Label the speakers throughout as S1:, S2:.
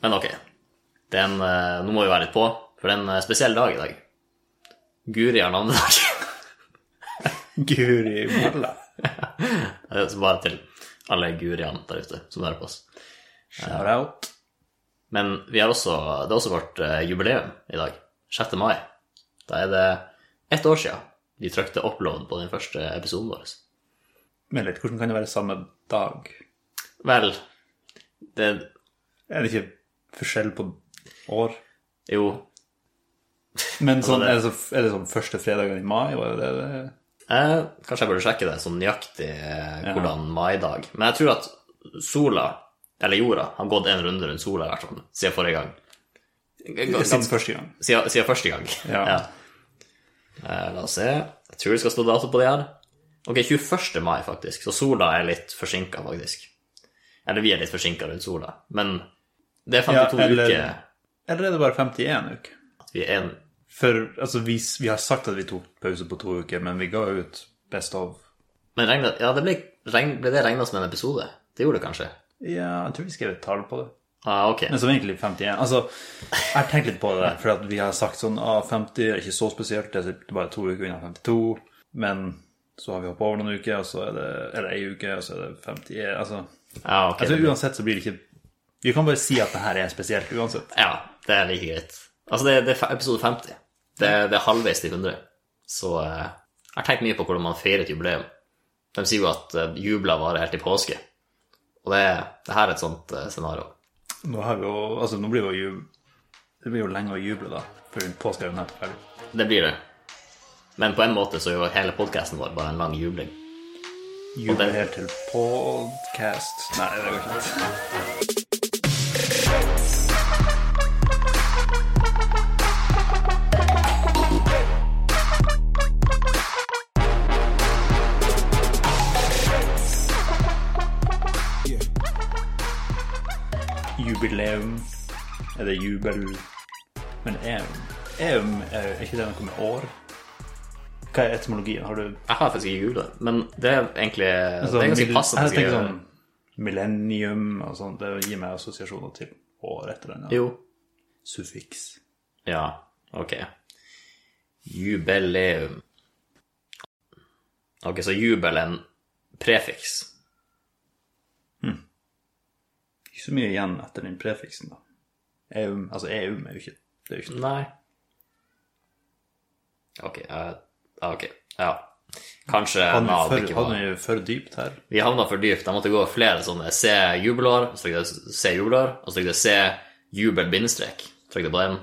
S1: Men ok. Det er en, eh, nå må vi være litt på, for det er en eh, spesiell dag i dag. Guri har navnedag.
S2: Guri malla.
S1: Det er Bare til alle guriene der ute som hører på oss.
S2: Shout out.
S1: Men vi har også, det er også vårt eh, jubileum i dag, 6. mai. Da er det ett år siden vi trykte upload på den første episoden vår.
S2: Men litt, hvordan kan det være samme dag?
S1: Vel, det
S2: Er det ikke forskjell på år?
S1: Jo,
S2: Men sånn, er, det så, er det sånn første fredagen i mai? Var det det?
S1: eh, kanskje jeg burde sjekke det sånn nøyaktig eh, hvordan maidag Men jeg tror at sola, eller jorda, har gått en runde rundt sola i hvert fall siden forrige gang.
S2: Siden første gang.
S1: Siden, siden første gang.
S2: Ja.
S1: Eh, la oss se. Jeg tror det skal stå dato på det her. Ok, 21. mai, faktisk. Så sola er litt forsinka, faktisk. Eller vi er litt forsinka rundt sola. Men det er 52
S2: Ja, eller-
S1: uker
S2: Eller er det bare 51 uker?
S1: at vi er en
S2: For altså, vi, vi har sagt at vi tok pause på to uker, men vi ga ut Best of.
S1: Men regnet, ja, det ble, regn, ble det regna som en episode? Det gjorde det kanskje?
S2: Ja, jeg tror vi skrev et tall på det.
S1: Ah, ok.
S2: Men som egentlig 51. Altså, jeg har tenkt litt på det, der, for at vi har sagt sånn ah, 50 er ikke så spesielt, det er bare to uker unna 52. Men så har vi hoppa over noen uker, og så er det eller ei uke, og så er det 50 Altså,
S1: Ja, ok.
S2: altså uansett så blir det ikke Vi kan bare si at det her er spesielt uansett.
S1: ja, det er like greit. Altså, det, det er fe- episode 50. Det, det er halvveis til 100. Så eh, jeg har tenkt mye på hvordan man feirer et jubileum. De sier jo at eh, jubler varer helt til påske. Og det, det her er et sånt eh, scenario.
S2: Nå, har vi jo, altså, nå blir det jo jub... Det blir jo lenge å juble, da, for påska er jo nettopp ferdig.
S1: Det blir det. Men på en måte så er jo hele podkasten vår bare en lang jubling.
S2: Juble
S1: den-
S2: helt til podcast Nei, det går ikke. Jubileum. Er det jubel? Men eum Eum, er er ikke det noe med år? Hva er etymologien? Har du
S1: Jeg har faktisk ikke jubla, men det er egentlig Det er ganske
S2: mill-
S1: passende.
S2: sånn Jeg tenker
S1: skal jeg-
S2: sånn millennium og sånn. Det gir meg assosiasjoner til år etter den.
S1: Jo.
S2: Suffiks.
S1: Ja, ok. Jubileum. Ok, så jubel er en prefiks.
S2: Ikke så mye igjen etter den prefiksen, da. Eum, altså eum er jo ikke det er jo ikke
S1: Nei. Ok, eh, ja, ok. Ja. Kanskje
S2: Hadde
S1: Nav
S2: vi
S1: ikke
S2: for, hadde
S1: var
S2: vi for dypt her?
S1: Vi havna for dypt. Jeg måtte gå flere sånne se jubelår, så trykte jeg se jubelår, og så trykte jeg se jubel bindestrek. Trykte jeg på den.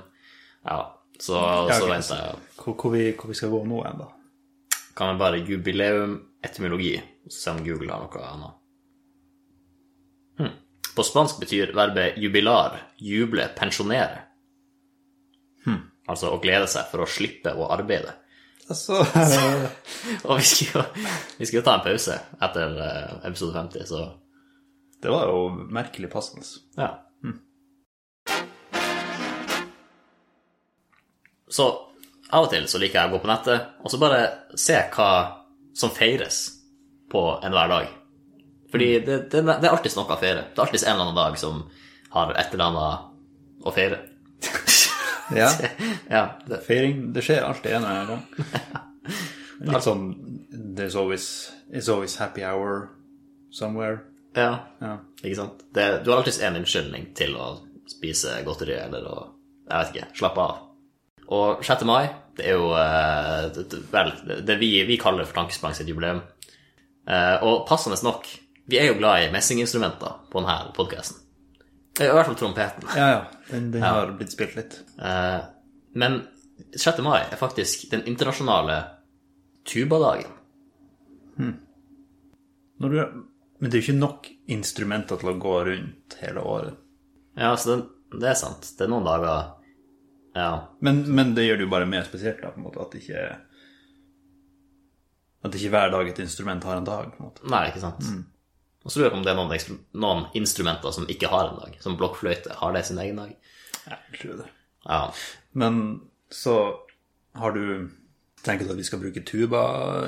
S1: Ja, så, så
S2: ok.
S1: venta jeg.
S2: Hvor, hvor, vi, hvor vi skal gå nå hen, da?
S1: Kan jeg bare jubileum etymologi, og så se om Google har noe annet. Hm. På spansk betyr verbet jubilar juble, pensjonere. Altså å glede seg for å slippe å arbeide.
S2: Altså
S1: Og vi skulle jo vi skulle jo ta en pause etter eh, episode 50, så
S2: Det var jo merkelig passende.
S1: ja. Mm. Så av og til så liker jeg å gå på nettet, og så bare se hva som feires på enhver dag. Fordi det, det, det er alltid noe å feire. Det er alltid en eller annen dag som har et eller annet å feire.
S2: Ja.
S1: Ja, det,
S2: Feiring, det skjer alltid en eller annen gang. Litt sånn There's always, it's always happy hour somewhere.
S1: ja,
S2: Ja.
S1: ikke sant? Det, du har alltid en unnskyldning til å spise godteri eller å Jeg vet ikke. Slappe av. Og 6. mai, det er jo eh, det, det- vel det vi, vi kaller for Tankesprang sitt jubileum. Eh, og passende nok, vi er jo glad i messinginstrumenter på denne podkasten. I hvert fall trompeten.
S2: Ja, ja. Den, den har blitt spilt litt.
S1: Eh, men 6. mai er faktisk den internasjonale tubadagen.
S2: Når du, men det er jo ikke nok instrumenter til å gå rundt hele året.
S1: Ja, så den, det er sant. Det er noen dager Ja.
S2: Men, men det gjør det jo bare mer spesielt, da, på en måte, at ikke At ikke hver dag et instrument har en dag, på en måte.
S1: Nei, ikke sant. Og så lurer jeg på om det er noen, ekstru- noen instrumenter som ikke har en dag, som blokkfløyte. Har det sin egen dag?
S2: Jeg tror det.
S1: Ja.
S2: Men så har du Tenker du at vi skal bruke tuba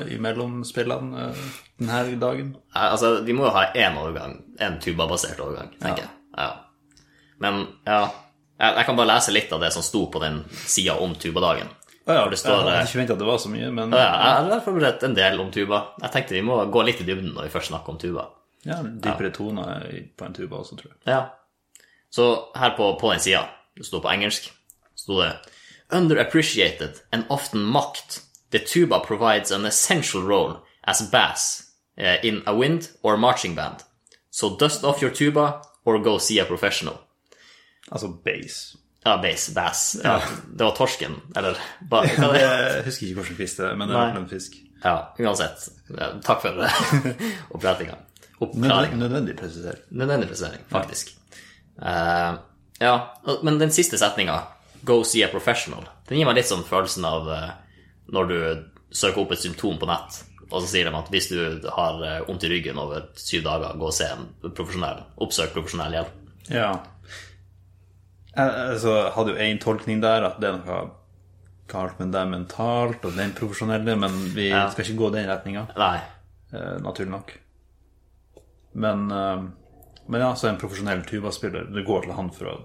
S2: imellom spillene eh, denne dagen?
S1: Eh, Altså, vi må jo ha én overgang. En tubabasert overgang, tenker jeg. Ja. Men ja, jeg, jeg kan bare lese litt av det som sto på den sida om tubadagen.
S2: Å ja,
S1: For det står,
S2: jeg hadde
S1: eh,
S2: ikke forventa at det var så mye, men
S1: Ja, Jeg har forberedt en del om tuba. Jeg tenkte vi må gå litt i dybden når vi først snakker om tuba.
S2: ja, dypere toner i- på en tuba også, tror jeg.
S1: Ja. Så her på, på den sida, det sto på engelsk, sto det Underappreciated and often mocked, the tuba provides an essential role as bass eh, in a wind or marching band. So dust off your tuba or go see a professional.
S2: Altså base.
S1: Ja, bass, bass. Ja. Det var torsken, eller bare hva det er.
S2: Jeg husker ikke hvordan fisk det er, men det
S1: Nei.
S2: er en fisk.
S1: Ja, uansett. Ja, Takk for opprettinga.
S2: Nødvendig,
S1: Oppklaringa.
S2: nødvendig presisert.
S1: Nødvendig presisering, faktisk. Eh, ja, men den siste setninga, 'go see a professional', den gir meg litt sånn følelsen av eh, når du søker opp et symptom på nett, og så sier de at hvis du har eh, vondt i ryggen over syv dager, gå og se en profesjonell. Oppsøk profesjonell hjelp.
S2: Ja. Jeg, altså, jeg hadde jo én tolkning der, at det er noe galt med deg mentalt, og den profesjonelle, men vi skal ikke gå den retninga,
S1: Nei.
S2: eh, naturlig nok. Men, eh, men ja, så en profesjonell tubaspiller, du går til han for å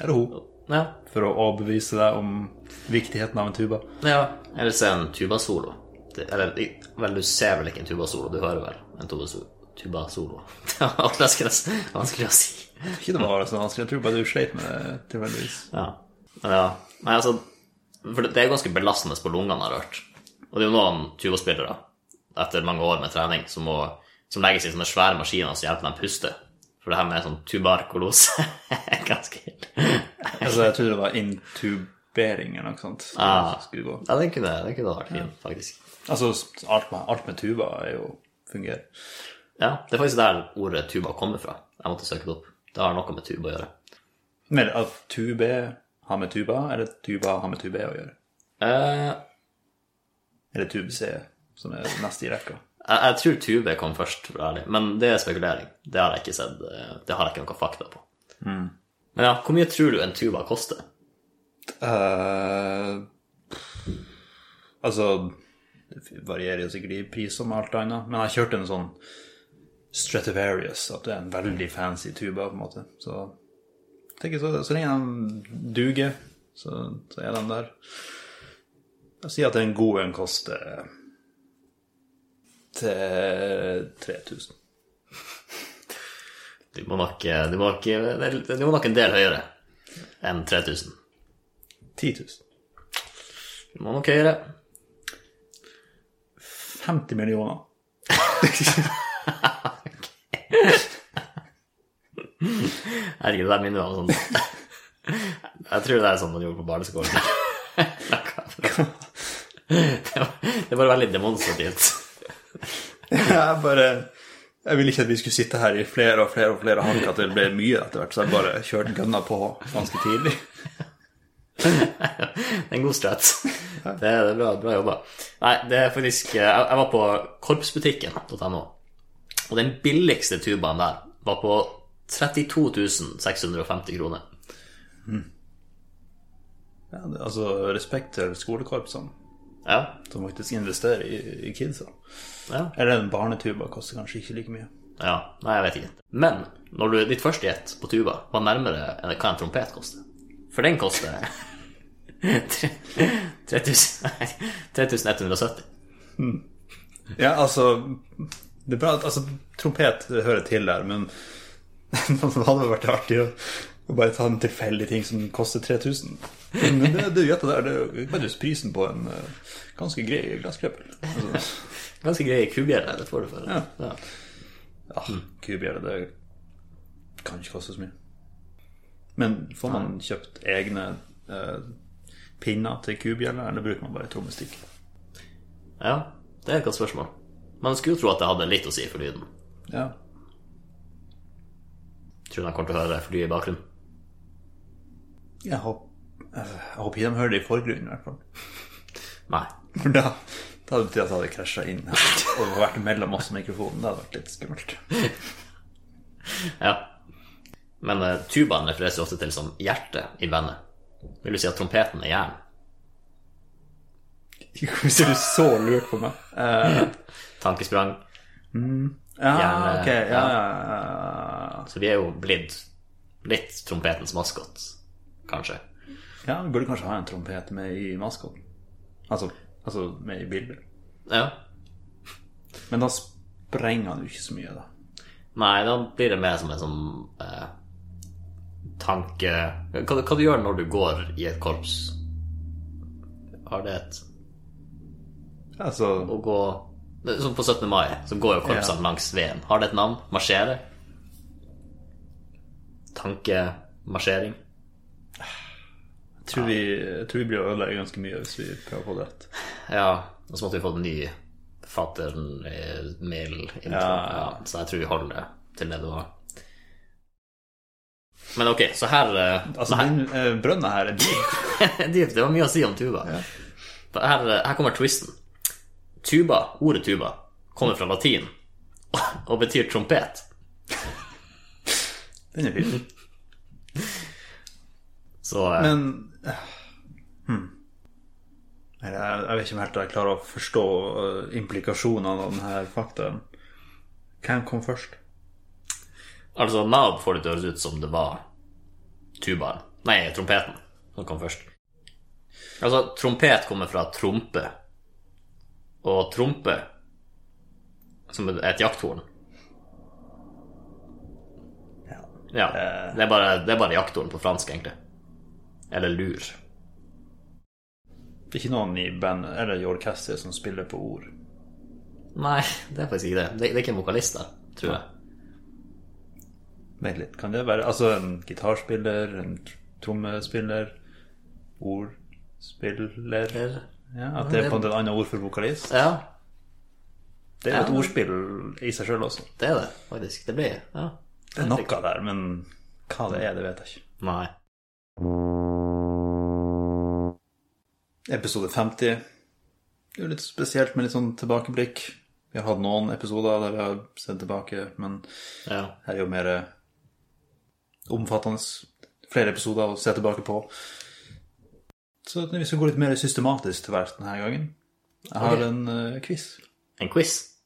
S2: Eller hun.
S1: Ja.
S2: For å overbevise deg om viktigheten av en tuba.
S1: ja. Eller se en tubasolo. Det- Eller vel, du ser vel ikke en tubasolo, du hører vel en tubaso- tubasolo. Atle Eskenes, vanskelig å si.
S2: Ikke det var så vanskelig, jeg tror bare du sleit med det tilfeldigvis.
S1: Ja. Men ja. Nei, altså, for det det er ganske belastende på lungene, har jeg hørt. Og det er jo noen tubaspillere, etter mange år med trening, som, må, som legges i sånne svære maskiner som hjelper dem å puste. For det her med sånn tuberkulose er ganske ille.
S2: Altså, jeg trodde det var intubering eller noe sånt. som
S1: Ah.
S2: skulle gå.
S1: Ja, den kunne, den kunne vært fin, faktisk.
S2: Altså, alt med, alt med tuba er jo fungerer.
S1: Ja, det er faktisk der ordet tuba kommer fra. Jeg måtte søke det opp. Det har noe med tuba å gjøre.
S2: Men at tube har med tuba, eller tuba har med tube å gjøre?
S1: Eh,
S2: Eller tube-c, som er neste i rekka.
S1: jeg, jeg tror tube kom først, for å være ærlig. Men det er spekulering. Det har jeg ikke sett. eh, Det har jeg ikke noe fakta på. Men ja, hvor mye tror du en tuba koster?
S2: Eh, altså, det varierer jo sikkert i pris som alt annet, men jeg kjørte en sånn Strativarius, at det er en veldig fancy tuba, på en måte. Så jeg tenker så, så lenge de duger, så, så er de der. Jeg sier at en god en koster til 3000.
S1: Du må nok, eh, du må nok, det er- du må nok en del høyere enn 3000.
S2: 10 000.
S1: Du må nok høyere.
S2: 50 millioner.
S1: Herregud, det der minner meg om sånn Jeg tror det er sånn man gjorde på barneskolen. Det var- Det var veldig demonstrativt.
S2: Jeg bare Jeg ville ikke at vi skulle sitte her i flere og flere og flere hakk, at det ble mye etter hvert, så jeg bare kjørte gunna på ganske tidlig.
S1: Det er en god strat. Det er, det er bra, bra jobba. Nei, det er faktisk eh, Jeg, jeg var på korpsbutikken.no, og den billigste tubaen der var på 32 650 kroner.
S2: Ja, det, altså, respekt til skolekorpsene,
S1: Ja,
S2: som faktisk investerer i, i kidsa.
S1: ja.
S2: Eller en barnetuba koster kanskje ikke like mye.
S1: Ja, nei, jeg vet ikke. Men når du, ditt første gjett på tuba var nærmere enn hva en trompet koster. For den koster tre- 3000 nei, 3170.
S2: Ja, altså Det er bra at altså, trompet hører til der, men det hadde vært artig å, å bare ta en tilfeldig ting som koster 3000. Men det, det gjetta der, det er jo bare just prisen på en eh, ganske grei glasskreppel. Altså.
S1: Ganske grei kubjelle, det får du for.
S2: Ja.
S1: Ja.
S2: Ja, kubjelle, det kan ikke koste så mye. Men får man kjøpt egne eh, pinner til kubjelle, eller bruker man bare trommestikk?
S1: ja, det er et godt spørsmål. Man skulle jo tro at det hadde litt å si for lyden.
S2: Ja.
S1: Tror du de kommer til å høre flyet i bakgrunnen?
S2: Jeg håper, jeg håper ikke de hører det i forgrunnen, i hvert fall.
S1: Nei.
S2: For da, da hadde det betydd at jeg hadde krasja inn og vært mellom oss og mikrofonen. Det hadde vært litt skummelt.
S1: Ja. Men eh, tubaen refereres jo ofte til som hjertet i bandet. Vil du si at trompeten er hjernen?
S2: Hvorfor ser du så lurt på meg?
S1: Tankesprang.
S2: Eh, ja,
S1: Gjerne,
S2: ok, ja, ja, ja, ja.
S1: Så vi er jo blitt Litt trompetens maskot, kanskje.
S2: Ja, vi burde kanskje ha en trompet med i maskoten. Altså, altså med i bildet.
S1: Ja.
S2: Men da sprenger han jo ikke så mye, da.
S1: Nei, da blir det mer som en sånn eh, tanke hva, hva du gjør når du går i et korps? Har det et
S2: Altså,
S1: Å gå Som på 17. mai, så går jo korpsene
S2: Ja.
S1: langs veien. Har det et navn? Marsjere? Tankemarsjering?
S2: jeg tror, vi, jeg tror vi blir ødelagt ganske mye hvis vi prøver på det.
S1: Ja, og så måtte vi fått en ny fattern eh, mail intro.
S2: Ja,
S1: Ja,
S2: ja.
S1: så jeg tror vi holder det til det det var. Men ok, så her eh,
S2: Altså, den eh, brønna her er dyr.
S1: Dypt, det var mye å si om tuba. For Her, eh, her kommer twisten. Tuba, ordet tuba, kommer fra latin og betyr trompet.
S2: Den er fin.
S1: Så eh,
S2: Men eh, hmm. Nei, jeg, jeg vet ikke om helt jeg klarer å forstå eh, implikasjonene av denne faktaen. Hvem kom først?
S1: altså, nab får det til å høres ut som det var tubaen. Nei, trompeten som kom først. Altså, trompet kommer fra trompe. Og trompe, som er et jakthorn
S2: Ja.
S1: Ja, det er bare, det er bare jakthorn på fransk, egentlig. Eller lur.
S2: Det er ikke noen i bandet eller i orkesteret som spiller på ord.
S1: Nei, det er faktisk ikke det. Det, det er ikke en vokalist der, tror jeg.
S2: Vent litt, kan det være Altså en gitarspiller, en tr- trommespiller, ordspiller
S1: Eller?
S2: ja, At det er på en måte et annet ord for vokalist.
S1: Ja,
S2: Det er jo et ordspill i seg sjøl også.
S1: det er det, faktisk. Det blir ja.
S2: Det er noe der, men hva det er, det vet jeg ikke.
S1: Nei.
S2: Episode 50. Det er jo litt spesielt med litt sånn tilbakeblikk. Vi har hatt noen episoder der vi har sett tilbake, men
S1: Ja.
S2: her er jo mer eh, omfattende. Flere episoder å se tilbake på. Så vi skal gå litt mer systematisk til verks denne gangen. Jeg har
S1: Ok.
S2: en eh, quiz.
S1: En quiz.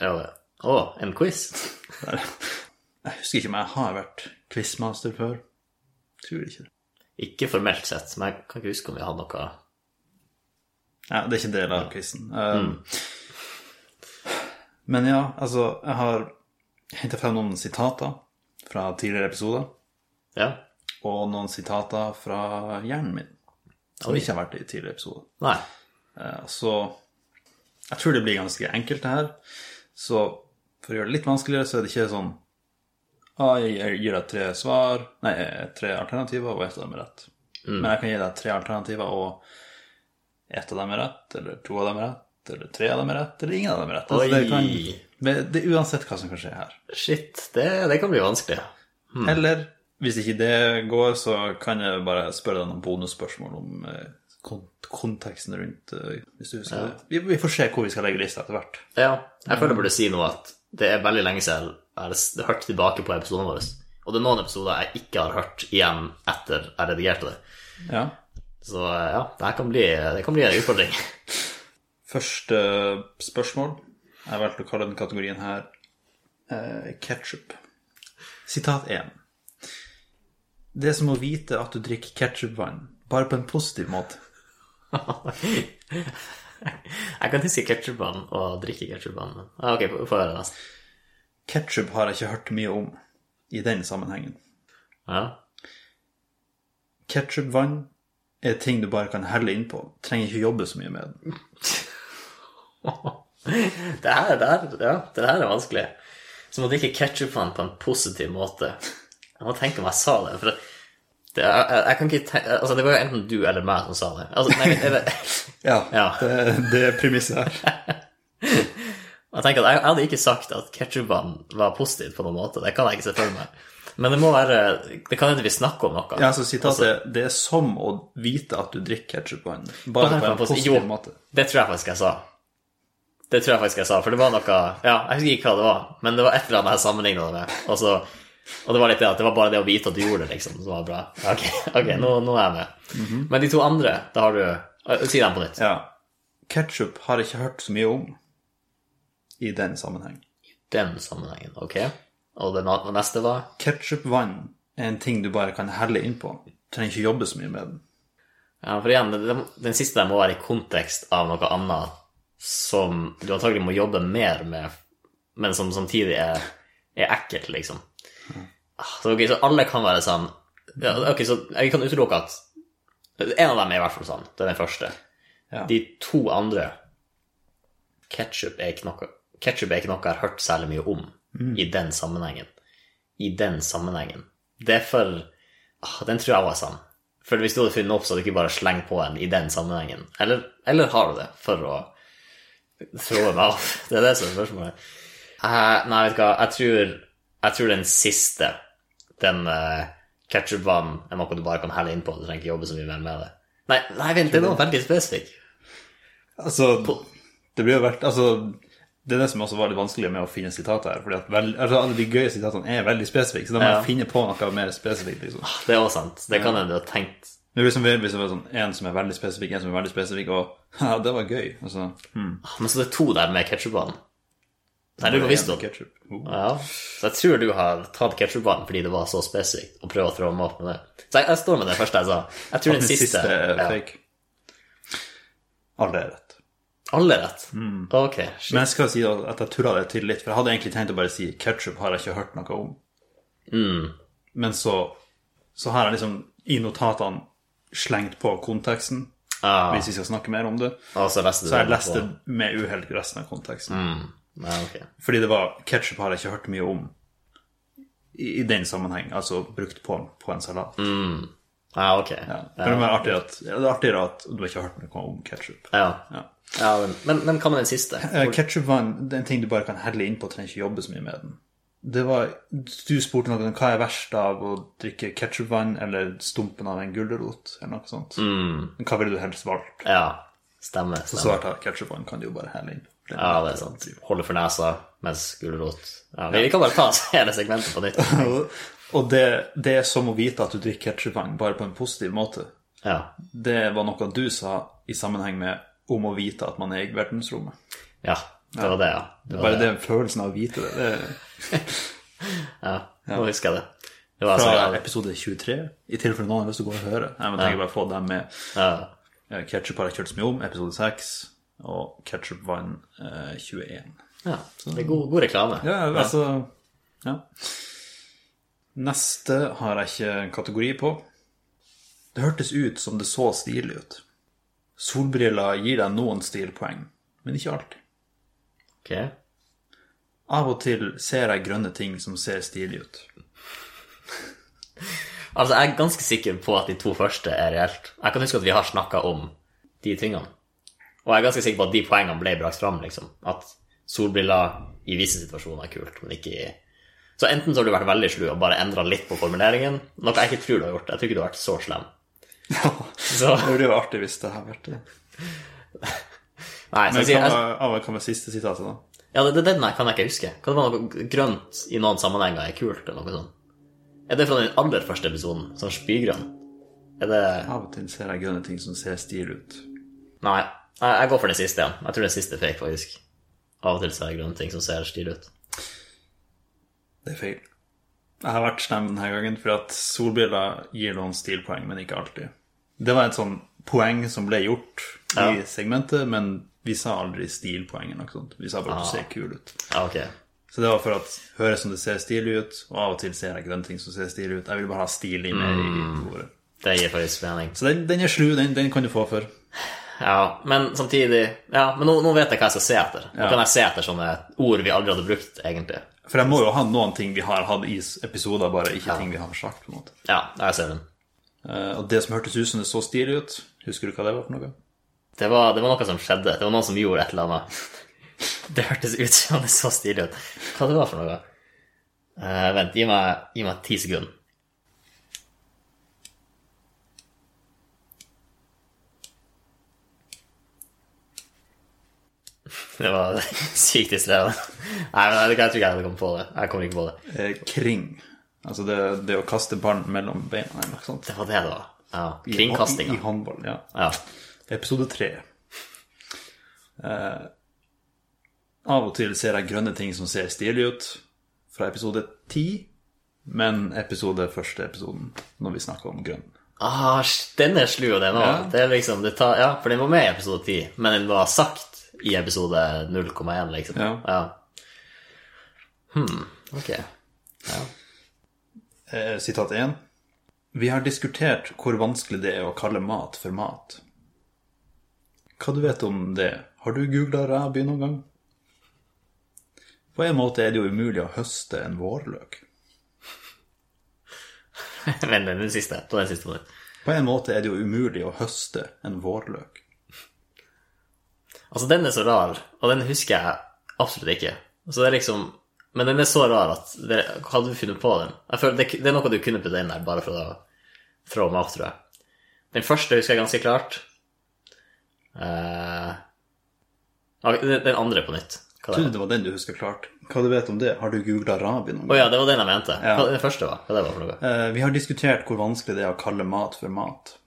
S1: Ja, det. Å, en quiz?
S2: Jeg husker ikke om jeg har vært quizmaster før. Tror ikke det.
S1: Ikke formelt sett, men jeg kan ikke huske om vi hadde noe
S2: Nei, det er ikke en del av quizen. Um, Men ja, altså, jeg har henta frem noen sitater fra tidligere episoder,
S1: Ja.
S2: og noen sitater fra hjernen min som ikke har vært i tidligere episoder.
S1: Nei.
S2: Eh, Så jeg tror det blir ganske enkelt, det her. Så for å gjøre det litt vanskeligere, så er det ikke sånn «Ah, Jeg gir deg tre svar Nei, tre alternativer, og ett av dem er rett. Men jeg kan gi deg tre alternativer, og ett av dem er rett, eller to av dem er rett, eller tre av dem er rett, eller ingen av dem er rett. Altså, det,
S1: Oi.
S2: kan, men det er uansett hva som kan skje her.
S1: Shit, det, det kan bli vanskelig.
S2: Eller hvis ikke det går, så kan jeg bare spørre deg noen bonusspørsmål om eh, kon- konteksten rundt eh, hvis du husker det. Vi, vi får se hvor vi skal legge lista etter hvert.
S1: Ja. Jeg føler jeg burde si nå at det er veldig lenge siden jeg har s- hørt tilbake på episoden vår. Og det er noen episoder jeg ikke har hørt igjen etter jeg redigerte det.
S2: Ja.
S1: Så ja, det her kan bli, det kan bli en utfordring.
S2: Første spørsmål. Jeg valgte å kalle den kategorien her eh, ketchup. Sitat 1. Det er som å vite at du drikker ketchupvann, bare på en positiv måte.
S1: Jeg kan huske ketchupbanen og drikke ketchupbanen. men- Ja, ok, få- få høre neste.
S2: Ketchup har jeg ikke hørt mye om i den sammenhengen.
S1: Ja.
S2: Ketchupvann er ting du bare kan helle innpå. Trenger ikke jobbe så mye med den.
S1: Det her, det her, ja, det her er vanskelig. Som å drikke ketsjupvann på en positiv måte. Jeg må tenke om jeg sa det. For det, det, jeg, jeg, jeg kan ikke tenke, altså, det var jo enten du eller meg som sa det. Altså, nei, er det,
S2: Ja,
S1: Ja.
S2: Det, det er premisset her.
S1: jeg tenker at jeg, jeg hadde ikke sagt at ketsjupvann var positivt på noen måte. Det kan jeg ikke se for meg. Men det må være Det kan hende vi snakker om noe.
S2: Ja, så sitatet
S1: Altså-
S2: er, Det er som å vite at du drikker ketchupvann, bare på en positiv
S1: Jo,
S2: måte.
S1: Det tror jeg faktisk jeg sa. Det tror jeg faktisk jeg sa, for det var noe Ja, jeg husker ikke hva det var, men det var et eller annet jeg sammenligna det med. Og, så, og det var litt det at det var bare det å vite at du gjorde det, liksom, som var bra. Ok, ok, nå, nå er jeg med. Men de to andre, da har du Ø, Si dem på nytt.
S2: Ja. Ketchup har jeg ikke hørt så mye om i den sammenheng.
S1: Den sammenhengen, ok? Og det na- og neste var
S2: Ketchupvann en ting du bare kan helle innpå. Trenger ikke jobbe så mye med den.
S1: Ja, for igjen, det- det- den siste der må være i kontekst av noe annet som du antagelig må jobbe mer med, men som samtidig er, er ekkelt, liksom. Ah, Så, ok, så alle kan være sånn ja, Ok, så jeg kan utelukke at En av dem er i hvert fall sånn. Det er den første.
S2: Ja.
S1: De to andre Ketchup er ikke noe Ketchup er ikke noe jeg har hørt særlig mye om i den sammenhengen. I den sammenhengen. Det er for ah, Den tror jeg var sann. For hvis du hadde funnet den opp, så hadde du ikke bare slengt på en i den sammenhengen. Eller, eller har du det for å trå meg av? Det er det som er spørsmålet. Eh, nei, vet du hva, jeg tror, jeg tror den siste, den uh, ketchup-vanen, er noe du bare kan helle innpå. Du trenger ikke jobbe så mye mer med det. Nei, nei vent, det var veldig spesifikt.
S2: Altså, det blir jo verdt Altså, det er det som også var litt vanskelig med å finne sitater her. Fordi at vel, altså, alle de gøye sitatene er veldig spesifikke, så da må
S1: Ja.
S2: jeg finne på noe mer spesifikt. liksom.
S1: Det er også sant. Det kan hende du har tenkt
S2: Det blir som hvis det var sånn, en som er veldig spesifikk, en som er veldig spesifikk, og ja, det var gøy. Altså, hmm,
S1: Ah, Men så det er to der med ketchupbanen. Nei, du
S2: det
S1: har
S2: er
S1: visst
S2: en
S1: det.
S2: ketchup. Oh.
S1: Ja. Så jeg tror du har tatt ketchupbanen fordi det var så spesifikt, og prøver å trå meg opp med det. Så jeg, jeg står med det første jeg sa. Jeg tror
S2: Den
S1: den
S2: siste
S1: siste
S2: er
S1: ja.
S2: fake. Alle er rett.
S1: Alle rett?
S2: Mm.
S1: Ok. shit.
S2: Men jeg skal si at jeg tulla det til litt, for jeg hadde egentlig tenkt å bare si ketchup har jeg ikke hørt noe om.
S1: Mm.
S2: Men så, så har jeg liksom i notatene slengt på konteksten,
S1: Ah,
S2: hvis vi skal snakke mer om det.
S1: og så leste du
S2: Så jeg
S1: den
S2: leste med uhell resten av konteksten.
S1: Mm. på- Nei, ok.
S2: Fordi det var ketchup har jeg ikke hørt mye om i, i den sammenheng, altså brukt på, på en salat.
S1: Ja, ok.
S2: Ja.
S1: Mm. Ja.
S2: Men det er artig at- det er artigere at du har ikke hørt noe om ketchup.
S1: Ja.
S2: Ja.
S1: men, men, men hva med den siste?
S2: Eh, Ketchup var en, det er en ting du bare kan helle innpå, trenger ikke jobbe så mye med den. Det var, du spurte noen hva er verst av å drikke ketchupvann eller stumpen av en gulrot, eller noe sånt.
S1: Mm.
S2: Hva ville du helst valgt?
S1: Ja. Stemmer.
S2: Så
S1: stemmer.
S2: svarte jeg ketchupvann kan du jo bare helle innpå. Det er
S1: Ja, det er sant. Holde for nesa mens gulrot ja, Vi vi kan bare ta hele segmentet på nytt.
S2: Og- Og det, det er som å vite at du drikker ketchupvann, bare på en positiv måte.
S1: Ja.
S2: Det var noe du sa i sammenheng med om å vite at man er i verdensrommet.
S1: ja. Det var det, ja. Det var
S2: Bare den følelsen av å vite det. det er...
S1: Ja, nå husker jeg det. Det var altså- så
S2: fra
S1: galt.
S2: episode 23, i tilfelle noen har lyst til å gå og høre. Jeg må tenke bare få dem med.
S1: Ja.
S2: Eh, Ketchup har jeg kjørt så mye om, episode 6, og Ketchup vann eh, 21.
S1: ja. Det er god, god reklame.
S2: Ja, altså Ja. Neste har jeg ikke en kategori på. Det hørtes ut som det så stilig ut. Solbriller gir deg noen stilpoeng, men ikke alltid.
S1: Ok.
S2: Av og til ser jeg grønne ting som ser stilig ut.
S1: Altså, jeg er ganske sikker på at de to første er reelt. Jeg kan huske at vi har snakka om de tingene. Og jeg er ganske sikker på at de poengene ble brakt fram, liksom. At solbriller i visse situasjoner er kult, men ikke i Så enten så har du vært veldig slu og bare endra litt på formuleringen, noe jeg ikke tror du har gjort. Jeg tror ikke du har vært så slem. Så,
S2: Det blir jo artig hvis det har vært det.
S1: nei, så
S2: Men
S1: jeg sier,
S2: hva
S1: jeg,
S2: var- hva var hva var siste sitatet, da?
S1: Ja, det, det, den her kan jeg ikke huske. Kan det være noe grønt i noen sammenhenger er kult, eller noe sånt? Er det fra den aller første episoden, sånn spygrønn? Er det
S2: Av og til ser jeg grønne ting som ser stil ut.
S1: Nei, jeg, jeg går for den siste igjen. Jeg tror den siste er fake, faktisk. Av og til ser jeg grønne ting som ser stil ut.
S2: Det er feil. Jeg har vært slem denne gangen, for at solbriller gir noen stilpoeng, men ikke alltid. Det var et sånn poeng som ble gjort i
S1: Ja.
S2: segmentet, men vi sa aldri stilpoeng eller noe sånt. Vi sa bare at du ser kul ut.
S1: Ja, ok.
S2: Så det var for at høres som det ser stilig ut, og av og til ser jeg grønne ting som ser stilig ut. Jeg vil bare ha stilig med i ordet.
S1: Det gir faktisk mening.
S2: Så den, den er slu, den, den kan du få for.
S1: Ja, men samtidig Ja, men nå, nå vet jeg hva jeg skal se etter. Nå kan jeg se etter sånne ord vi aldri hadde brukt, egentlig.
S2: For jeg må jo ha noen ting vi har hatt i s- episoder, bare ikke ting vi har sagt, på en måte.
S1: Ja, jeg ser den.
S2: Eh, Og det som hørtes ut som det så stilig ut, husker du hva det var for noe?
S1: Det var, det var noe som skjedde. Det var noen som gjorde et eller annet. Det hørtes ut som det så stilig ut. Hva det var for noe? Eh, vent, gi meg, gi meg ti sekunder. Det var sykt distrerende. Nei, men jeg tror ikke jeg hadde kommet på det. Jeg kommer ikke på det.
S2: Eh, Kring. Altså det, det å kaste ballen mellom beina. eller noe sånt.
S1: Det var det det var. Ja,
S2: I- I,
S1: kringkastinga.
S2: I håndball, ja.
S1: Ja.
S2: Episode tre. Eh, av og til ser jeg grønne ting som ser stilig ut. Fra episode ti. Men episode første episoden, når vi snakker om grønn.
S1: Ah, den er slu, og den òg.
S2: Ja.
S1: Det er liksom, det tar, ja, for den var med i episode 10, men den var sagt i episode 0,1, liksom.
S2: Ja.
S1: Hmm, ok.
S2: Eh, Sitat 1. Vi har diskutert hvor vanskelig det er å kalle mat for mat. Hva du vet om det? Har du googla ræby noen gang? På en måte er det jo umulig å høste en vårløk.
S1: Men den, den siste. På den siste måten.
S2: På en måte er det jo umulig å høste en vårløk.
S1: Altså, den er så rar, og den husker jeg absolutt ikke. Så det er liksom, men den er så rar at det, Hva hadde du funnet på den? Jeg føler det, det er noe du kunne puttet inn der, bare for å throw meg off, tror jeg. Den første husker jeg ganske klart. Eh, ja, den den andre på nytt. Hva det
S2: Trodde det var den du husker klart. Hva du vet om det? Har du googla ræby noen gang?
S1: Å ja, det var den jeg mente.
S2: Ja.
S1: Hva den første var? Hva det var for noe?
S2: Eh, Vi har diskutert hvor vanskelig det er å kalle mat for mat.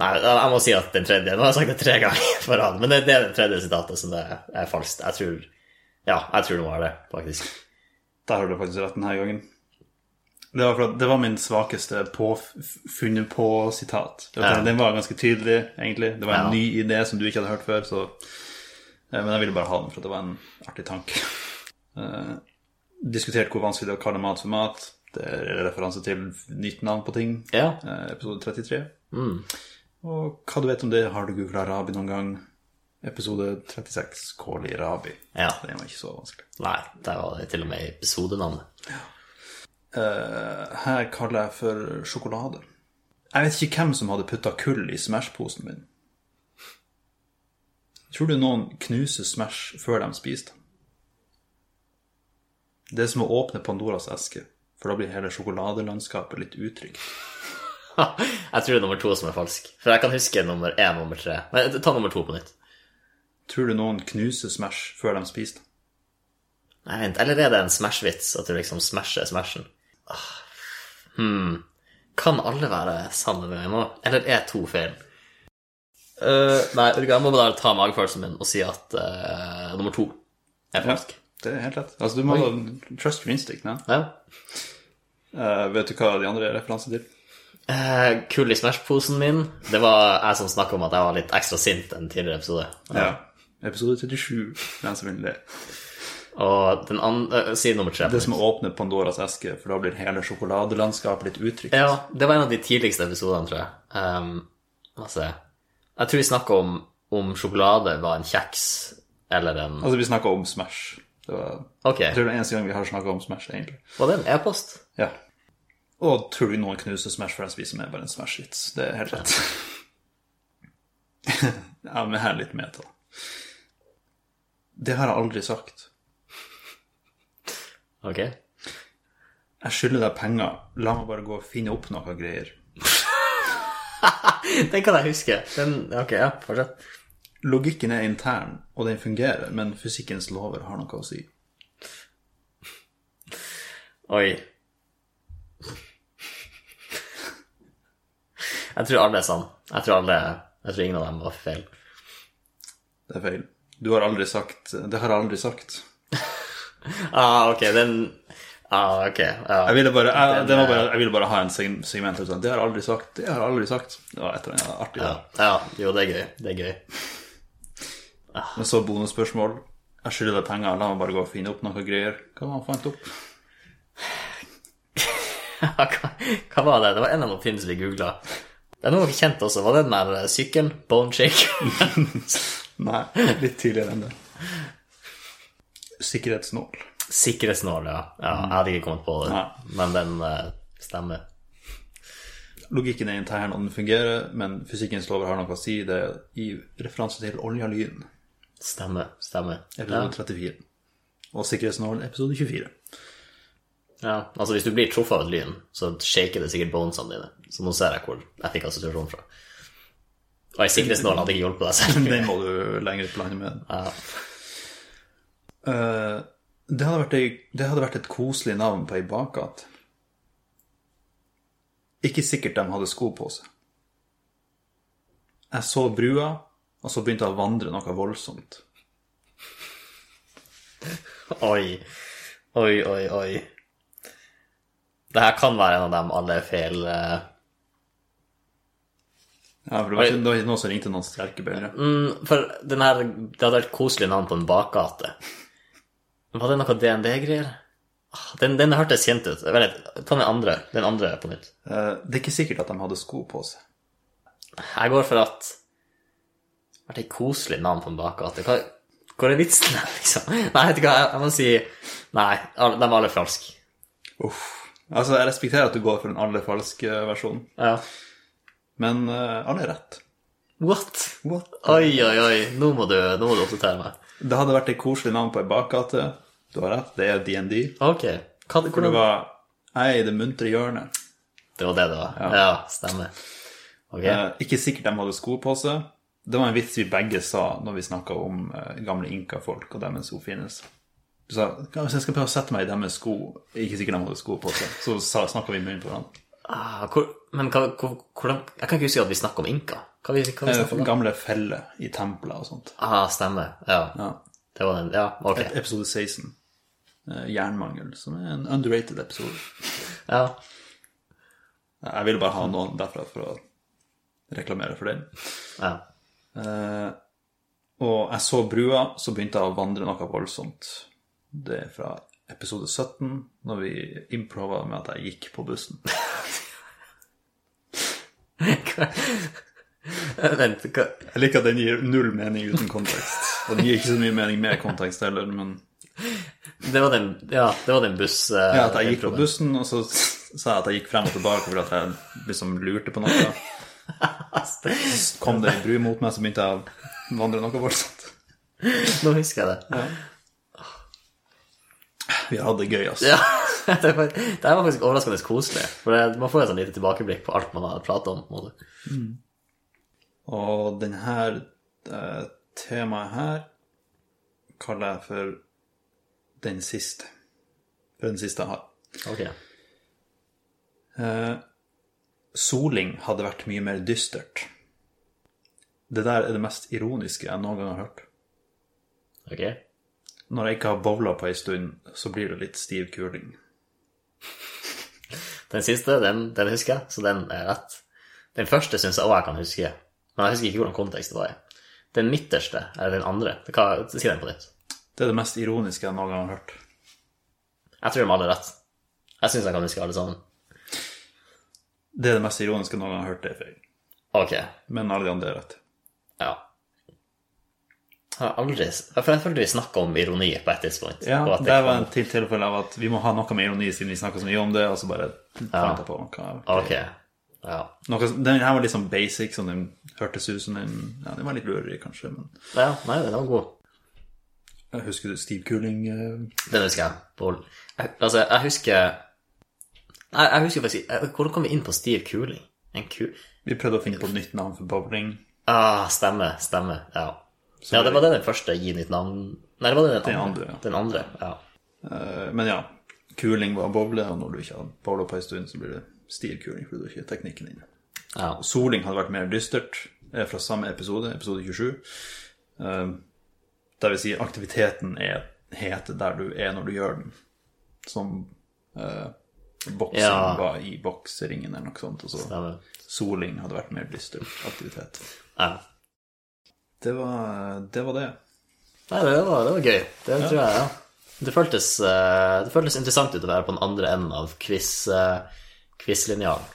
S1: Nei, jeg jeg må si at den tredje Nå har jeg sagt det tre ganger på rad, men det, det er den tredje sitatet som det er falskt. Jeg tror Ja, jeg tror det var det, faktisk.
S2: Der har du faktisk rett denne gangen. Det var, for at det var min svakeste påfunnet-på-sitat.
S1: Ja.
S2: Den var ganske tydelig, egentlig. Det var en
S1: Ja.
S2: ny idé som du ikke hadde hørt før. Så... eh, Men jeg ville bare ha den, for at det var en artig tanke. Eh, Diskutert hvor vanskelig det er å kalle mat for mat. Det er referanse til nytt navn på ting.
S1: Ja.
S2: Eh, Episode 33. Mm. Og hva du vet om det, har du googla Rabi noen gang? Episode 36, Kåli Rabi.
S1: ja.
S2: Den var ikke så vanskelig.
S1: Nei, der var det til og med episodenavnet.
S2: Eh, her kaller jeg for sjokolade. Jeg vet ikke hvem som hadde putta kull i Smash-posen min. Tror du noen knuser Smash før de spiser den? Det er som å åpne Pandoras eske, for da blir hele sjokoladelandskapet litt utrygt.
S1: Jeg tror det er nummer to som er falsk. For jeg kan huske nummer én og nummer tre. Men ta nummer to på nytt.
S2: Tror du noen knuser Smash før de spiser den?
S1: Nei, vent. Eller er det en Smash-vits? At du liksom smasher Smashen? Ah, Hmm. Kan alle være sammen med meg nå? Eller er to feil? Eh, nei, vet du hva, jeg må bare ta magefølelsen min og si at eh, nummer to er falsk.
S2: Det er helt rett. Altså, du må trust your instinct. Ja.
S1: Ja.
S2: Eh, vet du hva de andre er referanse til?
S1: Eh, kull i Smash-posen min. Det var jeg som snakka om at jeg var litt ekstra sint enn tidligere episode.
S2: Episode 37, for den som vil det.
S1: Og den andre eh, Si nummer tre. på
S2: Det er som å åpne Pandoras eske, for da blir hele sjokoladelandskapet litt utrygt.
S1: Ja, det var en av de tidligste episodene, tror jeg. Ehm, hva skal jeg si? Jeg tror vi snakka om om sjokolade var en kjeks eller en
S2: Altså, vi snakka om Smash. Det var,
S1: Ok,
S2: jeg tror det er eneste gang vi har snakka om Smash, egentlig.
S1: var det en e-post?
S2: Ja. Og tror du noen knuser Smash for en spiser med bare en Smash-vits? Det er helt rett. ja, men her er litt meta. Det har jeg aldri sagt.
S1: Ok.
S2: Jeg skylder deg penger. La meg bare gå og finne opp noe greier.
S1: Den kan jeg huske. Den, ok, ja, fortsett.
S2: Logikken er intern, og den fungerer, men fysikkens lover har noe å si.
S1: Oi. Jeg tror alle er sann. Jeg tror alle Jeg tror ingen av dem var feil.
S2: Det er feil. Du har aldri sagt Det har jeg aldri sagt.
S1: Ah, ok, den Ah, ok. Ja.
S2: Jeg ville bare, jeg, det var bare, jeg ville bare ha en seg- segment ut sånn, Det har jeg aldri sagt. Det har jeg aldri sagt. Det var et eller annet artig.
S1: Ja. ja. Jo, det er gøy. Det er gøy.
S2: Men så bonusspørsmål. Jeg skylder deg penger. La meg bare gå og finne opp noe greier. Hva var det han fant opp?
S1: Ja, hva, hva var det? Det var en av noen films vi googla. Det er noe vi kjente også. Var det den der eh, sykkelen? Bone Shake?
S2: Nei, litt tidligere enn det. Sikkerhetsnål.
S1: Sikkerhetsnål, ja. ja. Jeg hadde ikke kommet på det,
S2: Nei.
S1: men den eh, stemmer.
S2: Logikken er intern, og den fungerer, men fysikkens lover har noe å si. Det er i referanse til olja lyn,
S1: Stemmer. Stemmer. Ja.
S2: episode 34. Og sikkerhetsnål, episode 24.
S1: ja. Altså, hvis du blir truffet av et lyn, så shaker det sikkert bonesene dine. Så nå ser jeg hvor jeg fikk assosiasjonen fra. Og ei sikkerhetsnål hadde ikke hjulpet deg selv.
S2: Den må du lenger ut på landet med.
S1: Ja.
S2: Eh, det, hadde vært ei, det hadde vært et koselig navn på ei bakgate. Ikke sikkert de hadde sko på seg. Jeg så brua, og så begynte jeg å vandre noe voldsomt.
S1: Oi. Oi, oi, oi. Det her kan være en av dem alle feil eh,
S2: Ja, for det var ikke, det var ikke noen som ringte noen sterkebøyere.
S1: mm, For den her, det hadde vært koselig navn på en bakgate. Var det noe DND-greier? Ah, Den, den hørtes kjent ut. Vent litt, ta den andre, den andre på nytt.
S2: Eh, Det er ikke sikkert at de hadde sko på seg.
S1: Jeg går for at Det har vært et koselig navn på en bakgate. Hva, hvor er vitsen her, liksom? Nei, vet du hva, jeg, jeg må si Nei, alle- de er alle falske.
S2: Uff. Altså, jeg respekterer at du går for den aller falske versjonen,
S1: Ja.
S2: men eh, alle er rett.
S1: What?
S2: What?
S1: Oi, oi, oi. Nå må du, nå må du oppdatere meg.
S2: Det hadde vært et koselig navn på ei bakgate. Du har rett, det er DND.
S1: Ok. Hva,
S2: For det
S1: hvordan
S2: var Jeg i det muntre hjørnet.
S1: Det var det det var. Ja, stemmer. Ok.
S2: Eh, Ikke sikkert de hadde sko på seg. Det var en vits vi begge sa når vi snakka om eh, gamle inkafolk og deres oppfinnelse. Du sa «Hva hvis jeg skal prøve å sette meg i deres sko Ikke sikkert de hadde sko på seg. Så snakka vi i munnen på hverandre.
S1: Ah, hvor, men hva, hvor, hvordan Jeg kan ikke huske at vi snakker om inka. Hva vi, hva vi snakker om
S2: Eh,
S1: da?
S2: Gamle feller i templer og sånt.
S1: Ah, stemmer. Ja.
S2: Ja.
S1: Det var den. Ja, ok.
S2: Episode 16. eh, Jernmangel, som er en underrated episode.
S1: Ja.
S2: Jeg ville bare ha noen derfra for å reklamere for den.
S1: ja.
S2: Eh, og jeg så brua, så begynte jeg å vandre noe voldsomt. Det er fra episode 17, når vi improva med at jeg gikk på bussen.
S1: Vent, hva
S2: Jeg liker at den gir null mening uten kontekst. Og den gir ikke så mye mening med kontekst heller, men
S1: Det var den, ja, det var den buss... eh,
S2: ja, at jeg gikk på bussen, og så sa jeg at jeg gikk frem og tilbake fordi at jeg liksom lurte på noe. Så kom det ei bru mot meg, så begynte jeg å vandre noe voldsomt.
S1: Nå husker jeg det.
S2: Vi har hatt det gøy, altså.
S1: Ja. det, var, det her var faktisk overraskende koselig. For det, Man får et sånn lite tilbakeblikk på alt man har pratet om. på en måte.
S2: Og denne temaet her kaller jeg for den siste. For den siste jeg har.
S1: Ok.
S2: Eh, soling hadde vært mye mer dystert. Det der er det mest ironiske jeg noen gang har hørt.
S1: Ok.
S2: Når jeg ikke har bowla på ei stund, så blir det litt stiv kuling.
S1: Den siste, den, den husker jeg, så den er rett. Den første syns jeg òg jeg kan huske, men jeg husker ikke hvordan kontekst det var i. Den midterste, eller den andre, hva, si den på nytt.
S2: Det er det mest ironiske jeg noen gang har hørt.
S1: Jeg tror de har alle rett. Jeg syns jeg kan huske alle sammen.
S2: Det er det mest ironiske jeg noen gang har hørt, det er feil.
S1: Ok,
S2: Men alle de andre er rett.
S1: ja. Jeg har aldri For jeg følte vi snakka om ironi på et tidspunkt.
S2: Ja,
S1: og at det
S2: det
S1: kom-
S2: var en til tilfelle av at vi må ha noe med ironi siden vi snakker så mye om det, og så bare fant jeg på noe.
S1: Ok, ja.
S2: Noe, den her var litt sånn basic, sånn den hørtes ut som den Ja, den var litt lureri, kanskje, men
S1: ja. Nei, den var god.
S2: jeg husker du Steve Kuling eh,
S1: Den husker jeg. På, jeg altså, jeg husker Nei, jeg husker faktisk jeg, Hvordan kom vi inn på stiv kuling? En ku...
S2: Vi prøvde å finne på et nytt navn for bowling.
S1: Ah, stemmer. Stemmer. Ja.
S2: Så
S1: ja, det
S2: det-
S1: var det den første gi nytt navn Nei, det var det den andre.
S2: andre, ja.
S1: Den andre, ja.
S2: Eh, Men ja, kuling var bowle, og når du ikke har bowla på en stund, så blir det Steve Kuling, fordi du ikke har teknikken inne.
S1: ja.
S2: Soling hadde vært mer dystert, er fra samme episode, episode 27. Eh, Det vil si, aktiviteten er het der du er når du gjør den. Som eh, boksing
S1: Ja.
S2: var i bokseringen eller noe sånt. Og så
S1: Stemmer.
S2: soling hadde vært mer dystert aktivitet.
S1: Ja.
S2: Det var det. Var det.
S1: Nei, det var, det var gøy. Det tror jeg, ja. Det føltes, eh, det føltes interessant ut å være på den andre enden av quiz, eh, quizlinjalen.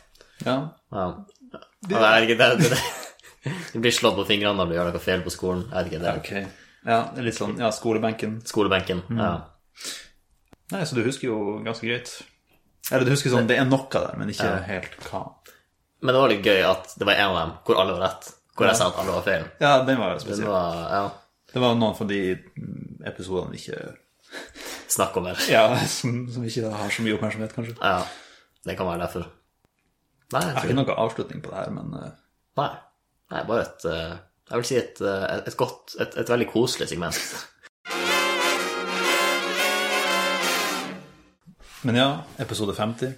S2: Ja.
S1: Ja. Ja, Jeg vet ikke, det, det, det. Du blir slått på fingrene når du gjør noe feil på skolen. Jeg vet ikke, det er
S2: Ok. Ja, det er litt sånn ja, skolebenken.
S1: skolebenken. Ja.
S2: Nei, så du husker jo ganske greit. Eller du husker sånn, det er noe der, men ikke helt hva.
S1: Men det var litt gøy at det var en av dem hvor alle var rett. Hvor jeg sa at alle var feil.
S2: Ja, den var
S1: Det
S2: spesiell.
S1: var ja,
S2: Det var noen av de mm, episodene vi ikke
S1: snakk om det.
S2: Ja, som, som ikke har så mye oppmerksomhet, kanskje. Jeg
S1: Ja, det kan være derfor. Nei, jeg
S2: har
S1: tror
S2: ikke noen avslutning på det her, men eh,
S1: Nei. Nei, bare et eh, Jeg vil si et, eh, et godt et, et veldig koselig segment.
S2: Men ja, episode 50.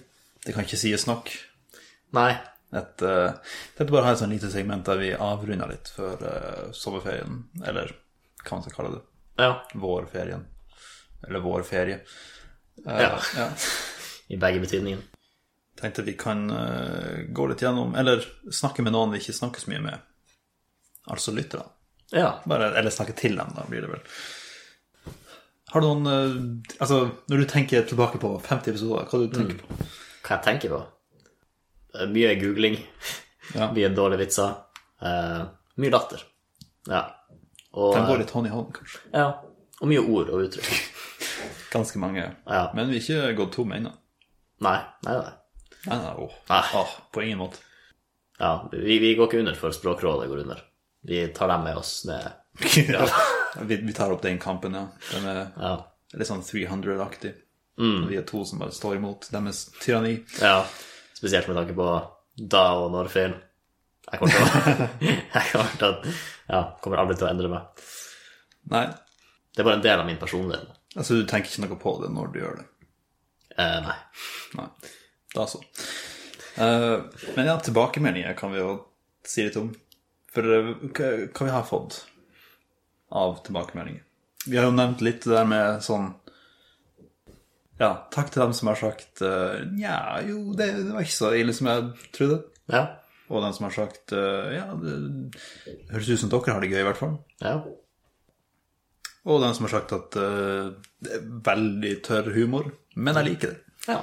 S2: Det kan ikke sies nok.
S1: Nei.
S2: Et, eh, tenkte bare å ha et sånn lite segment der vi avrunder litt før eh, sommerferien, eller hva man skal kalle det.
S1: Ja.
S2: Vårferien. Eller vårferie. Eh,
S1: ja.
S2: Ja.
S1: I begge betydninger.
S2: tenkte vi kan eh, gå litt gjennom, eller snakke med noen vi ikke snakker så mye med. Altså lyttere.
S1: Ja.
S2: Bare, eller snakke til dem, da blir det vel. Har du noen eh, Altså, når du tenker tilbake på 50 episoder, hva du tenker du på?
S1: Hva jeg tenker på? Det er Mye googling.
S2: Ja.
S1: Mye dårlige vitser. eh, mye latter. Ja. Og,
S2: Den går litt hånd i hånd, kanskje.
S1: ja. og mye ord og uttrykk.
S2: Ganske mange.
S1: Ja.
S2: Men vi er ikke gått tom ennå.
S1: Nei, nei, nei.
S2: Nei, nei, åh.
S1: Nei.
S2: Åh, på ingen måte.
S1: Ja, vi, vi går ikke under for Språkrådet går under. Vi tar dem med oss ned.
S2: vi, vi tar opp den kampen, ja. Den er
S1: Ja.
S2: litt sånn 300-aktig. Vi er to som bare står imot deres tyranni.
S1: ja. Spesielt med tanke på da og når-film. Jeg kommer til å Jeg kommer til å Ja, kommer aldri til å endre meg.
S2: Nei,
S1: Det er bare en del av min personlighet.
S2: altså du tenker ikke noe på det når du gjør det.
S1: Eh, nei.
S2: Nei, da så. Eh, men ja, tilbakemeldinger kan vi jo si litt om. For eh, hva, hva vi har fått av tilbakemeldinger. Vi har jo nevnt litt det der med sånn Ja, takk til dem som har sagt eh, Nja, jo, det, det var ikke så ille som jeg trodde.
S1: Ja.
S2: Og dem som har sagt eh, Ja, det høres ut som dere har det gøy, i hvert fall.
S1: Ja.
S2: Og dem som har sagt at eh, det er veldig tørr humor, men jeg liker det.
S1: ja.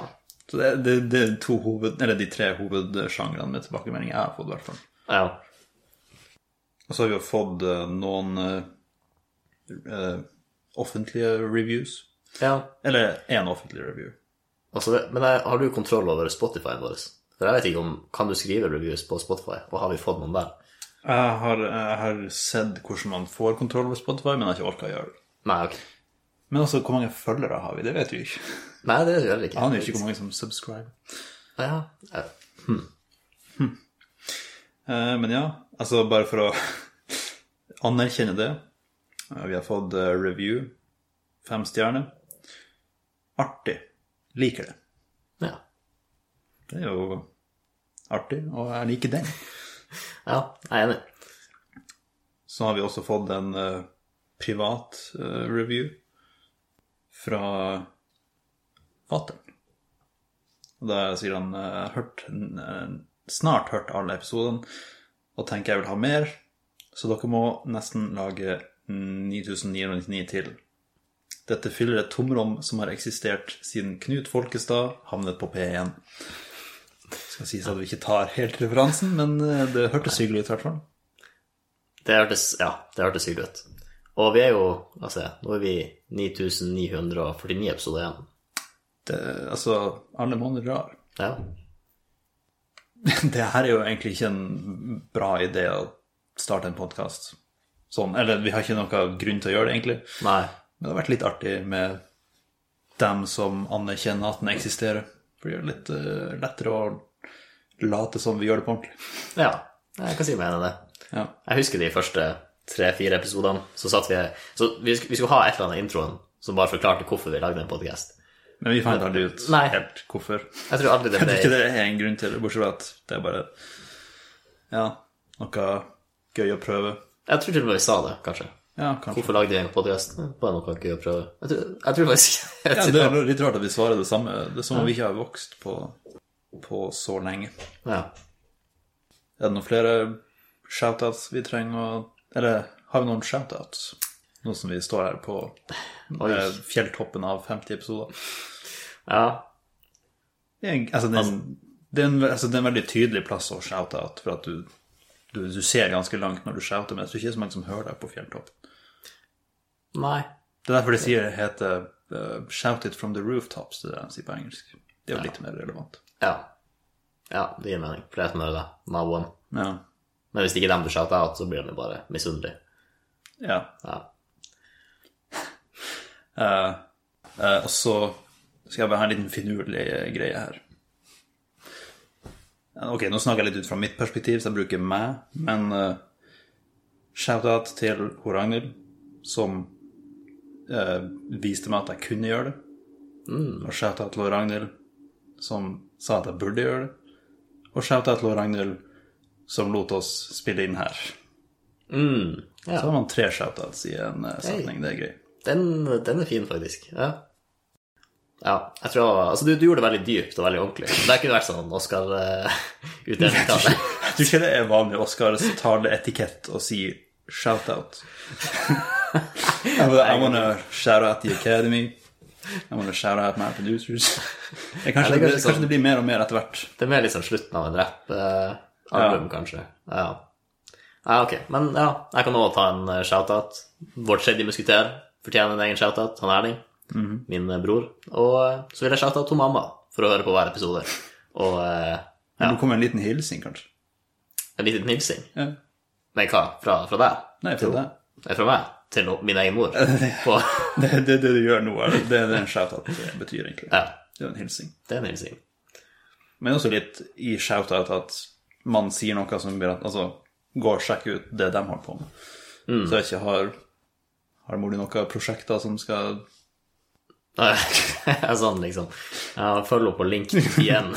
S2: Så det, det, det er to hoved, eller de tre hovedsjangrene med tilbakemeldinger jeg har fått, i hvert fall.
S1: ja.
S2: Og så har vi jo fått eh, noen eh, eh, offentlige reviews.
S1: ja.
S2: Eller én offentlig review.
S1: Altså, det- men jeg, har du kontroll over Spotify-en vår? For jeg vet ikke om, Kan du skrive reviews på Spotify, og har vi fått noen der?
S2: Jeg har, jeg har sett hvordan man får kontroll over Spotify, men jeg har ikke orka å gjøre det.
S1: Nei, ok.
S2: Men altså, hvor mange følgere har vi? Det vet vi jo ikke.
S1: Nei, det vet vi heller ikke.
S2: Jeg aner jo ikke hvor mange som subscriber.
S1: Ja, ja.
S2: Eh, Men ja, altså bare for å anerkjenne det. eh, Vi har fått eh, review. Fem stjerner. Artig. Liker det.
S1: ja.
S2: Det er jo artig, og jeg liker den.
S1: Ja, jeg er enig.
S2: Så har vi også fått en eh, privat eh, review fra fatter'n. Og da sier han eh, «Jeg har hørt, eh, snart hørt alle episodene og tenker jeg vil ha mer, så dere må nesten lage 9999 til. Dette fyller et tomrom som har eksistert siden Knut Folkestad havnet på P1. Skal sies at vi ikke tar helt referansen, men eh, det hørtes hyggelig ut i hvert fall.
S1: Det hørtes, ja, det hørtes hyggelig ut. Og vi er jo La oss se, nå er vi 9949 episoder igjen.
S2: det, altså, alle måneder drar.
S1: Ja.
S2: Det her er jo egentlig ikke en bra idé å starte en podkast sånn. Eller vi har ikke noen grunn til å gjøre det, egentlig.
S1: Nei.
S2: Men det har vært litt artig med dem som anerkjenner at den eksisterer. For det gjør det litt eh, lettere å late som vi gjør det på ordentlig.
S1: Ja, jeg kan si meg enig i det.
S2: Ja.
S1: Jeg husker de første tre-fire episodene. Så satt vi Så vi sk- vi skulle ha et eller annet i introen som bare forklarte hvorfor vi lagde en podkast.
S2: Men vi fant aldri ut
S1: Nei.
S2: helt hvorfor.
S1: Jeg tror aldri det
S2: Jeg
S1: ble
S2: tror ikke det er en grunn til det, bortsett fra at det er bare ja, noe gøy å prøve.
S1: Jeg tror til og med vi sa det, kanskje.
S2: Ja, kanskje.
S1: Hvorfor lagde vi en podcast? Eh, Bare noe gøy å prøve. Jeg tror, jeg tror faktisk
S2: Ja, det er litt rart at vi svarer det samme. Det er som om vi ikke har vokst på, på så lenge.
S1: ja.
S2: Er det noen flere shoutouts vi trenger å Eller har vi noen shoutouts? Nå som vi står her på
S1: Oi.
S2: eh, fjelltoppen av 50 episoder.
S1: ja.
S2: Det er en, altså, det er en, det er en, altså, det er en veldig tydelig plass å shoutout, for at du, du, du ser ganske langt når du shouter, men jeg tror ikke det er så mange som hører deg på fjelltoppen.
S1: Nei.
S2: Det er derfor de sier det heter eh, 'shout it from the rooftops', det er det de sier på engelsk. Det er jo litt mer relevant.
S1: Ja. Ja, det gir mening. Flere som hører det. Naboen.
S2: Ja.
S1: Men hvis det ikke er dem du shouter out, så blir de jo bare misunnelig.
S2: ja.
S1: Ja.
S2: Eh, eh, og så skal jeg bare ha en liten finurlig eh, greie her. Eh, Ok, nå snakker jeg litt ut fra mitt perspektiv, så jeg bruker meg, men eh, shout-out til hun Ragnhild, som eh, viste meg at jeg kunne gjøre det. Og shout-out til hun Ragnhild, som sa at jeg burde gjøre det. Og shout-out til hun Ragnhild, som lot oss spille inn her.
S1: Mm.
S2: Så
S1: ja.
S2: har man tre shout-outs i en eh, setning, det er greit.
S1: Den, den er fin, faktisk. Ja. Ja, jeg tror, altså du, du gjorde det veldig dypt og veldig ordentlig. Det kunne vært sånn Oscar-utdelingstale.
S2: Jeg tror ikke det er vanlig Oscars taleetikett å si shout-out. I wanna shout out the academy. I wanna shout out my producers. Det
S1: Ja, det er
S2: kanskje,
S1: kanskje
S2: det,
S1: sånn.
S2: kanskje det blir mer og mer etter hvert.
S1: Det er mer liksom slutten av en rapp-album, kanskje. Ja. ja, ok. Men ja, jeg kan også ta en eh, shout-out. Vår tredje musketer fortjener en egen shout-out. Han Erling, min eh, bror. Og eh, så vil jeg shout-out to mamma for å høre på hver episode. Og eh,
S2: Men nå kommer en liten hilsen, kanskje.
S1: en liten hilsing.
S2: Ja.
S1: Men hva? Fra, fra deg?
S2: Nei, for det.
S1: Nei, Fra meg? Til no- min egen mor? På,
S2: Det er det, det du gjør nå. er Det det er det en shout-out betyr, egentlig.
S1: ja,
S2: Det er en hilsing.
S1: det er en hilsing.
S2: Men også litt i shout-out at man sier noe som blir at Altså, gå og sjekk ut det de holder på med. Så jeg ikke har Har mor di noen prosjekter som skal
S1: Nei, jeg er sånn, liksom. Jeg følger opp på link igjen.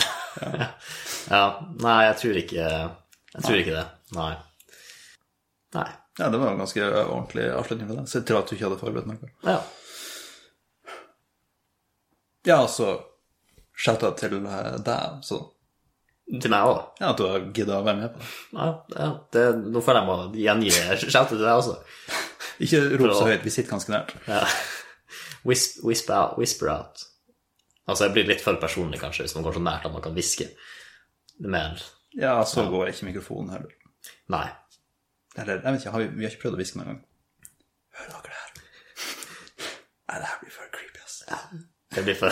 S1: ja. Nei, jeg tror ikke Jeg tror ikke det. Nei. Nei.
S2: Ja, det var en ganske ordentlig avslutning for deg. Så jeg tror at du ikke hadde forberedt noe.
S1: Ja.
S2: Ja, altså Shout-out til eh, deg, så
S1: Til meg òg.
S2: ja, at du har gidda å være med på det.
S1: Ja, ja, det- nå føler jeg må gjengi shoutet til deg også.
S2: Ikke rop så
S1: Bra.
S2: høyt, vi sitter ganske nært.
S1: Ja. Whis- Whisper out. Whisper out. Altså, jeg blir litt for personlig, kanskje, hvis man går så nært at man kan hviske. Mer
S2: Ja, så går ikke mikrofonen heller.
S1: Nei.
S2: Eller, jeg vet ikke, har vi, vi har ikke prøvd å hviske noen gang. Hører dere det her? Nei, det her blir for creepy, ass.
S1: Det blir for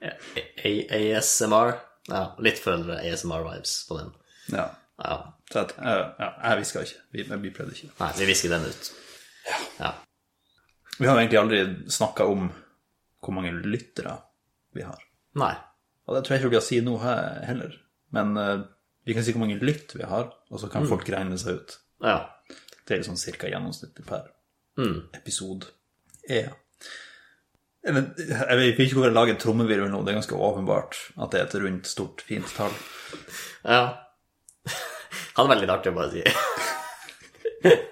S1: A- A- ASMR. Ja, litt for ASMR-vibes på den.
S2: Ja,
S1: Ja.
S2: så at, eh, ja, jeg hviska ikke. Vi, vi prøvde ikke.
S1: Nei, vi visker den ut. Ja.
S2: Vi har jo egentlig aldri snakka om hvor mange lyttere vi har.
S1: Nei.
S2: Og det tror jeg ikke vi har si nå he- heller. Men eh, vi kan si hvor mange lytt vi har, og så kan
S1: Mm.
S2: folk regne seg ut.
S1: Ja. Mm.
S2: Det er sånn cirka gjennomsnittlig per episode. Ja. Eller, jeg vet ikke hvorfor jeg lager en trommevirvel nå, det er ganske åpenbart at det er et rundt, stort, fint tall.
S1: ja. Hadde vært litt artig å bare si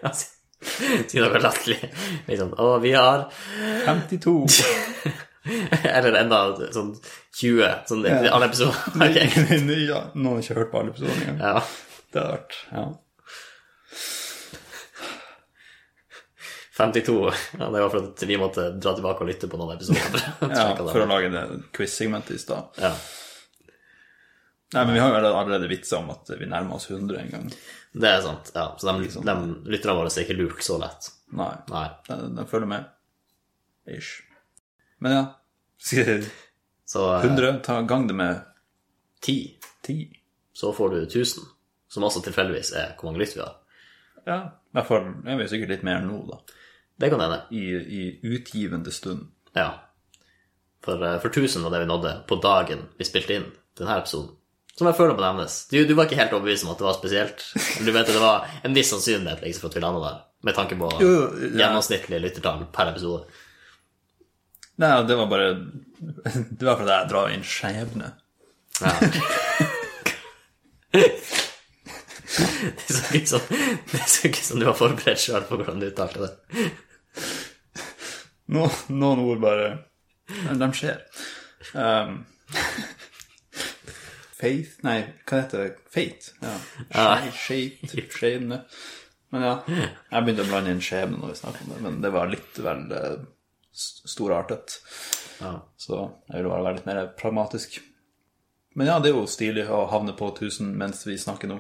S1: Altså, Si noe latterlig. Liksom Å, vi har
S2: 52!
S1: Eller enda sånn 20, sånn i alle episoder. Ok.
S2: ja, noen har ikke hørt på alle episodene engang.
S1: Ja.
S2: Det hadde vært ja.
S1: 52. Ja, det var for at vi måtte dra tilbake og lytte på noen episoder. for å
S2: ja,
S1: sjekke
S2: For å
S1: det.
S2: lage det quiz-segmentet i stad.
S1: Ja.
S2: Nei, men vi har jo allerede- allerede vitser om at vi nærmer oss 100 en gang.
S1: Det er sant. ja. Så de, de lytterne våre er ikke lurt så lett.
S2: Nei,
S1: Nei.
S2: den, den følger med. Ish. Men ja. Skal vi-
S1: Så eh,
S2: 100, ta gang det med
S1: 10,
S2: 10.
S1: så får du 1000. Som også tilfeldigvis er hvor mange lytt vi har.
S2: Ja, i hvert fall jeg vet sikkert litt mer nå, da.
S1: Det kan hende.
S2: I, i utgivende stund.
S1: Ja. For, eh, for 1000 var det vi nådde på dagen vi spilte inn denne episoden. Som jeg føler må nevnes. Du, du var ikke helt overbevist om at det var spesielt. Men Du vet det var en viss sannsynlighet liksom, for at vi landa der, med tanke på
S2: Jo, Øh, ja.
S1: gjennomsnittlige lyttertall per episode.
S2: Nei, det var bare Det var fordi jeg drar inn skjebne.
S1: Ja. det så ikke som, det så ikke som du var forberedt sjøl på hvordan du uttalte det.
S2: No, noen ord bare men De skjer. Um, faith Nei, hva heter det? Fate? Ja. Skjeit. Skjebne. Men ja, jeg begynte å blande inn skjebne når vi snakket om det, men det var litt vel eh, s- storartet.
S1: Ja.
S2: Så jeg ville bare være litt mer pragmatisk. Men ja, det er jo stilig å havne på 1000 mens vi snakker nå.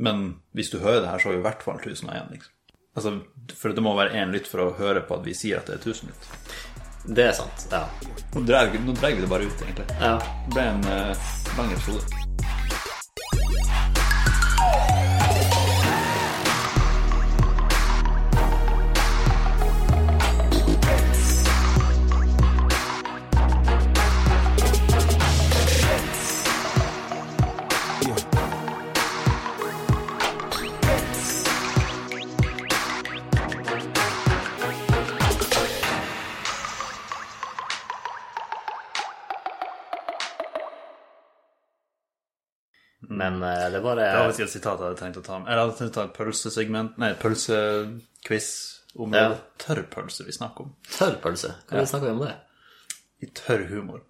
S2: Men hvis du hører det her, så er jo i hvert fall 1000 igjen, liksom. Altså, for det må være én lytt for å høre på at vi sier at det er 1000 lytt.
S1: Det er sant. Ja.
S2: Nå dreier vi nå dreier vi det bare ut, egentlig.
S1: ja.
S2: Det ble en uh, lang episode.
S1: Men eh, det var
S2: Det var et sitat jeg hadde tenkt å ta med. Eller jeg hadde tenkt å ta et pølsesegment Nei, pølsequiz om
S1: Ja.
S2: tørrpølser vi snakker om.
S1: Tørrpølse? Hva er det vi snakker vi om det?
S2: i tørr humor.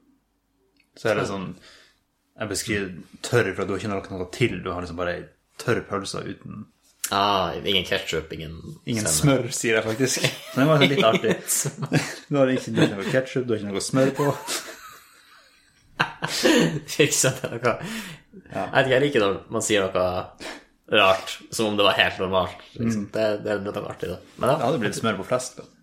S2: Så er det sånn Jeg beskriver tørr, for at du har ikke lagt noe til. Du har liksom bare ei tørr pølse uten
S1: Ah, ingen ketsjup, ingen,
S2: Ingen
S1: sennep.
S2: smør, sier jeg faktisk. Så det var litt artig. Du har ikke noe ketsjup, du har ikke noe smør på.
S1: Ikke sant? Det er noe- Jeg vet ikke, jeg liker når man sier noe Mm. rart som om det var helt normalt. Liksom. Det, det, det er noe artig, da. Men ja,
S2: Jeg hadde blitt smør på flest. da.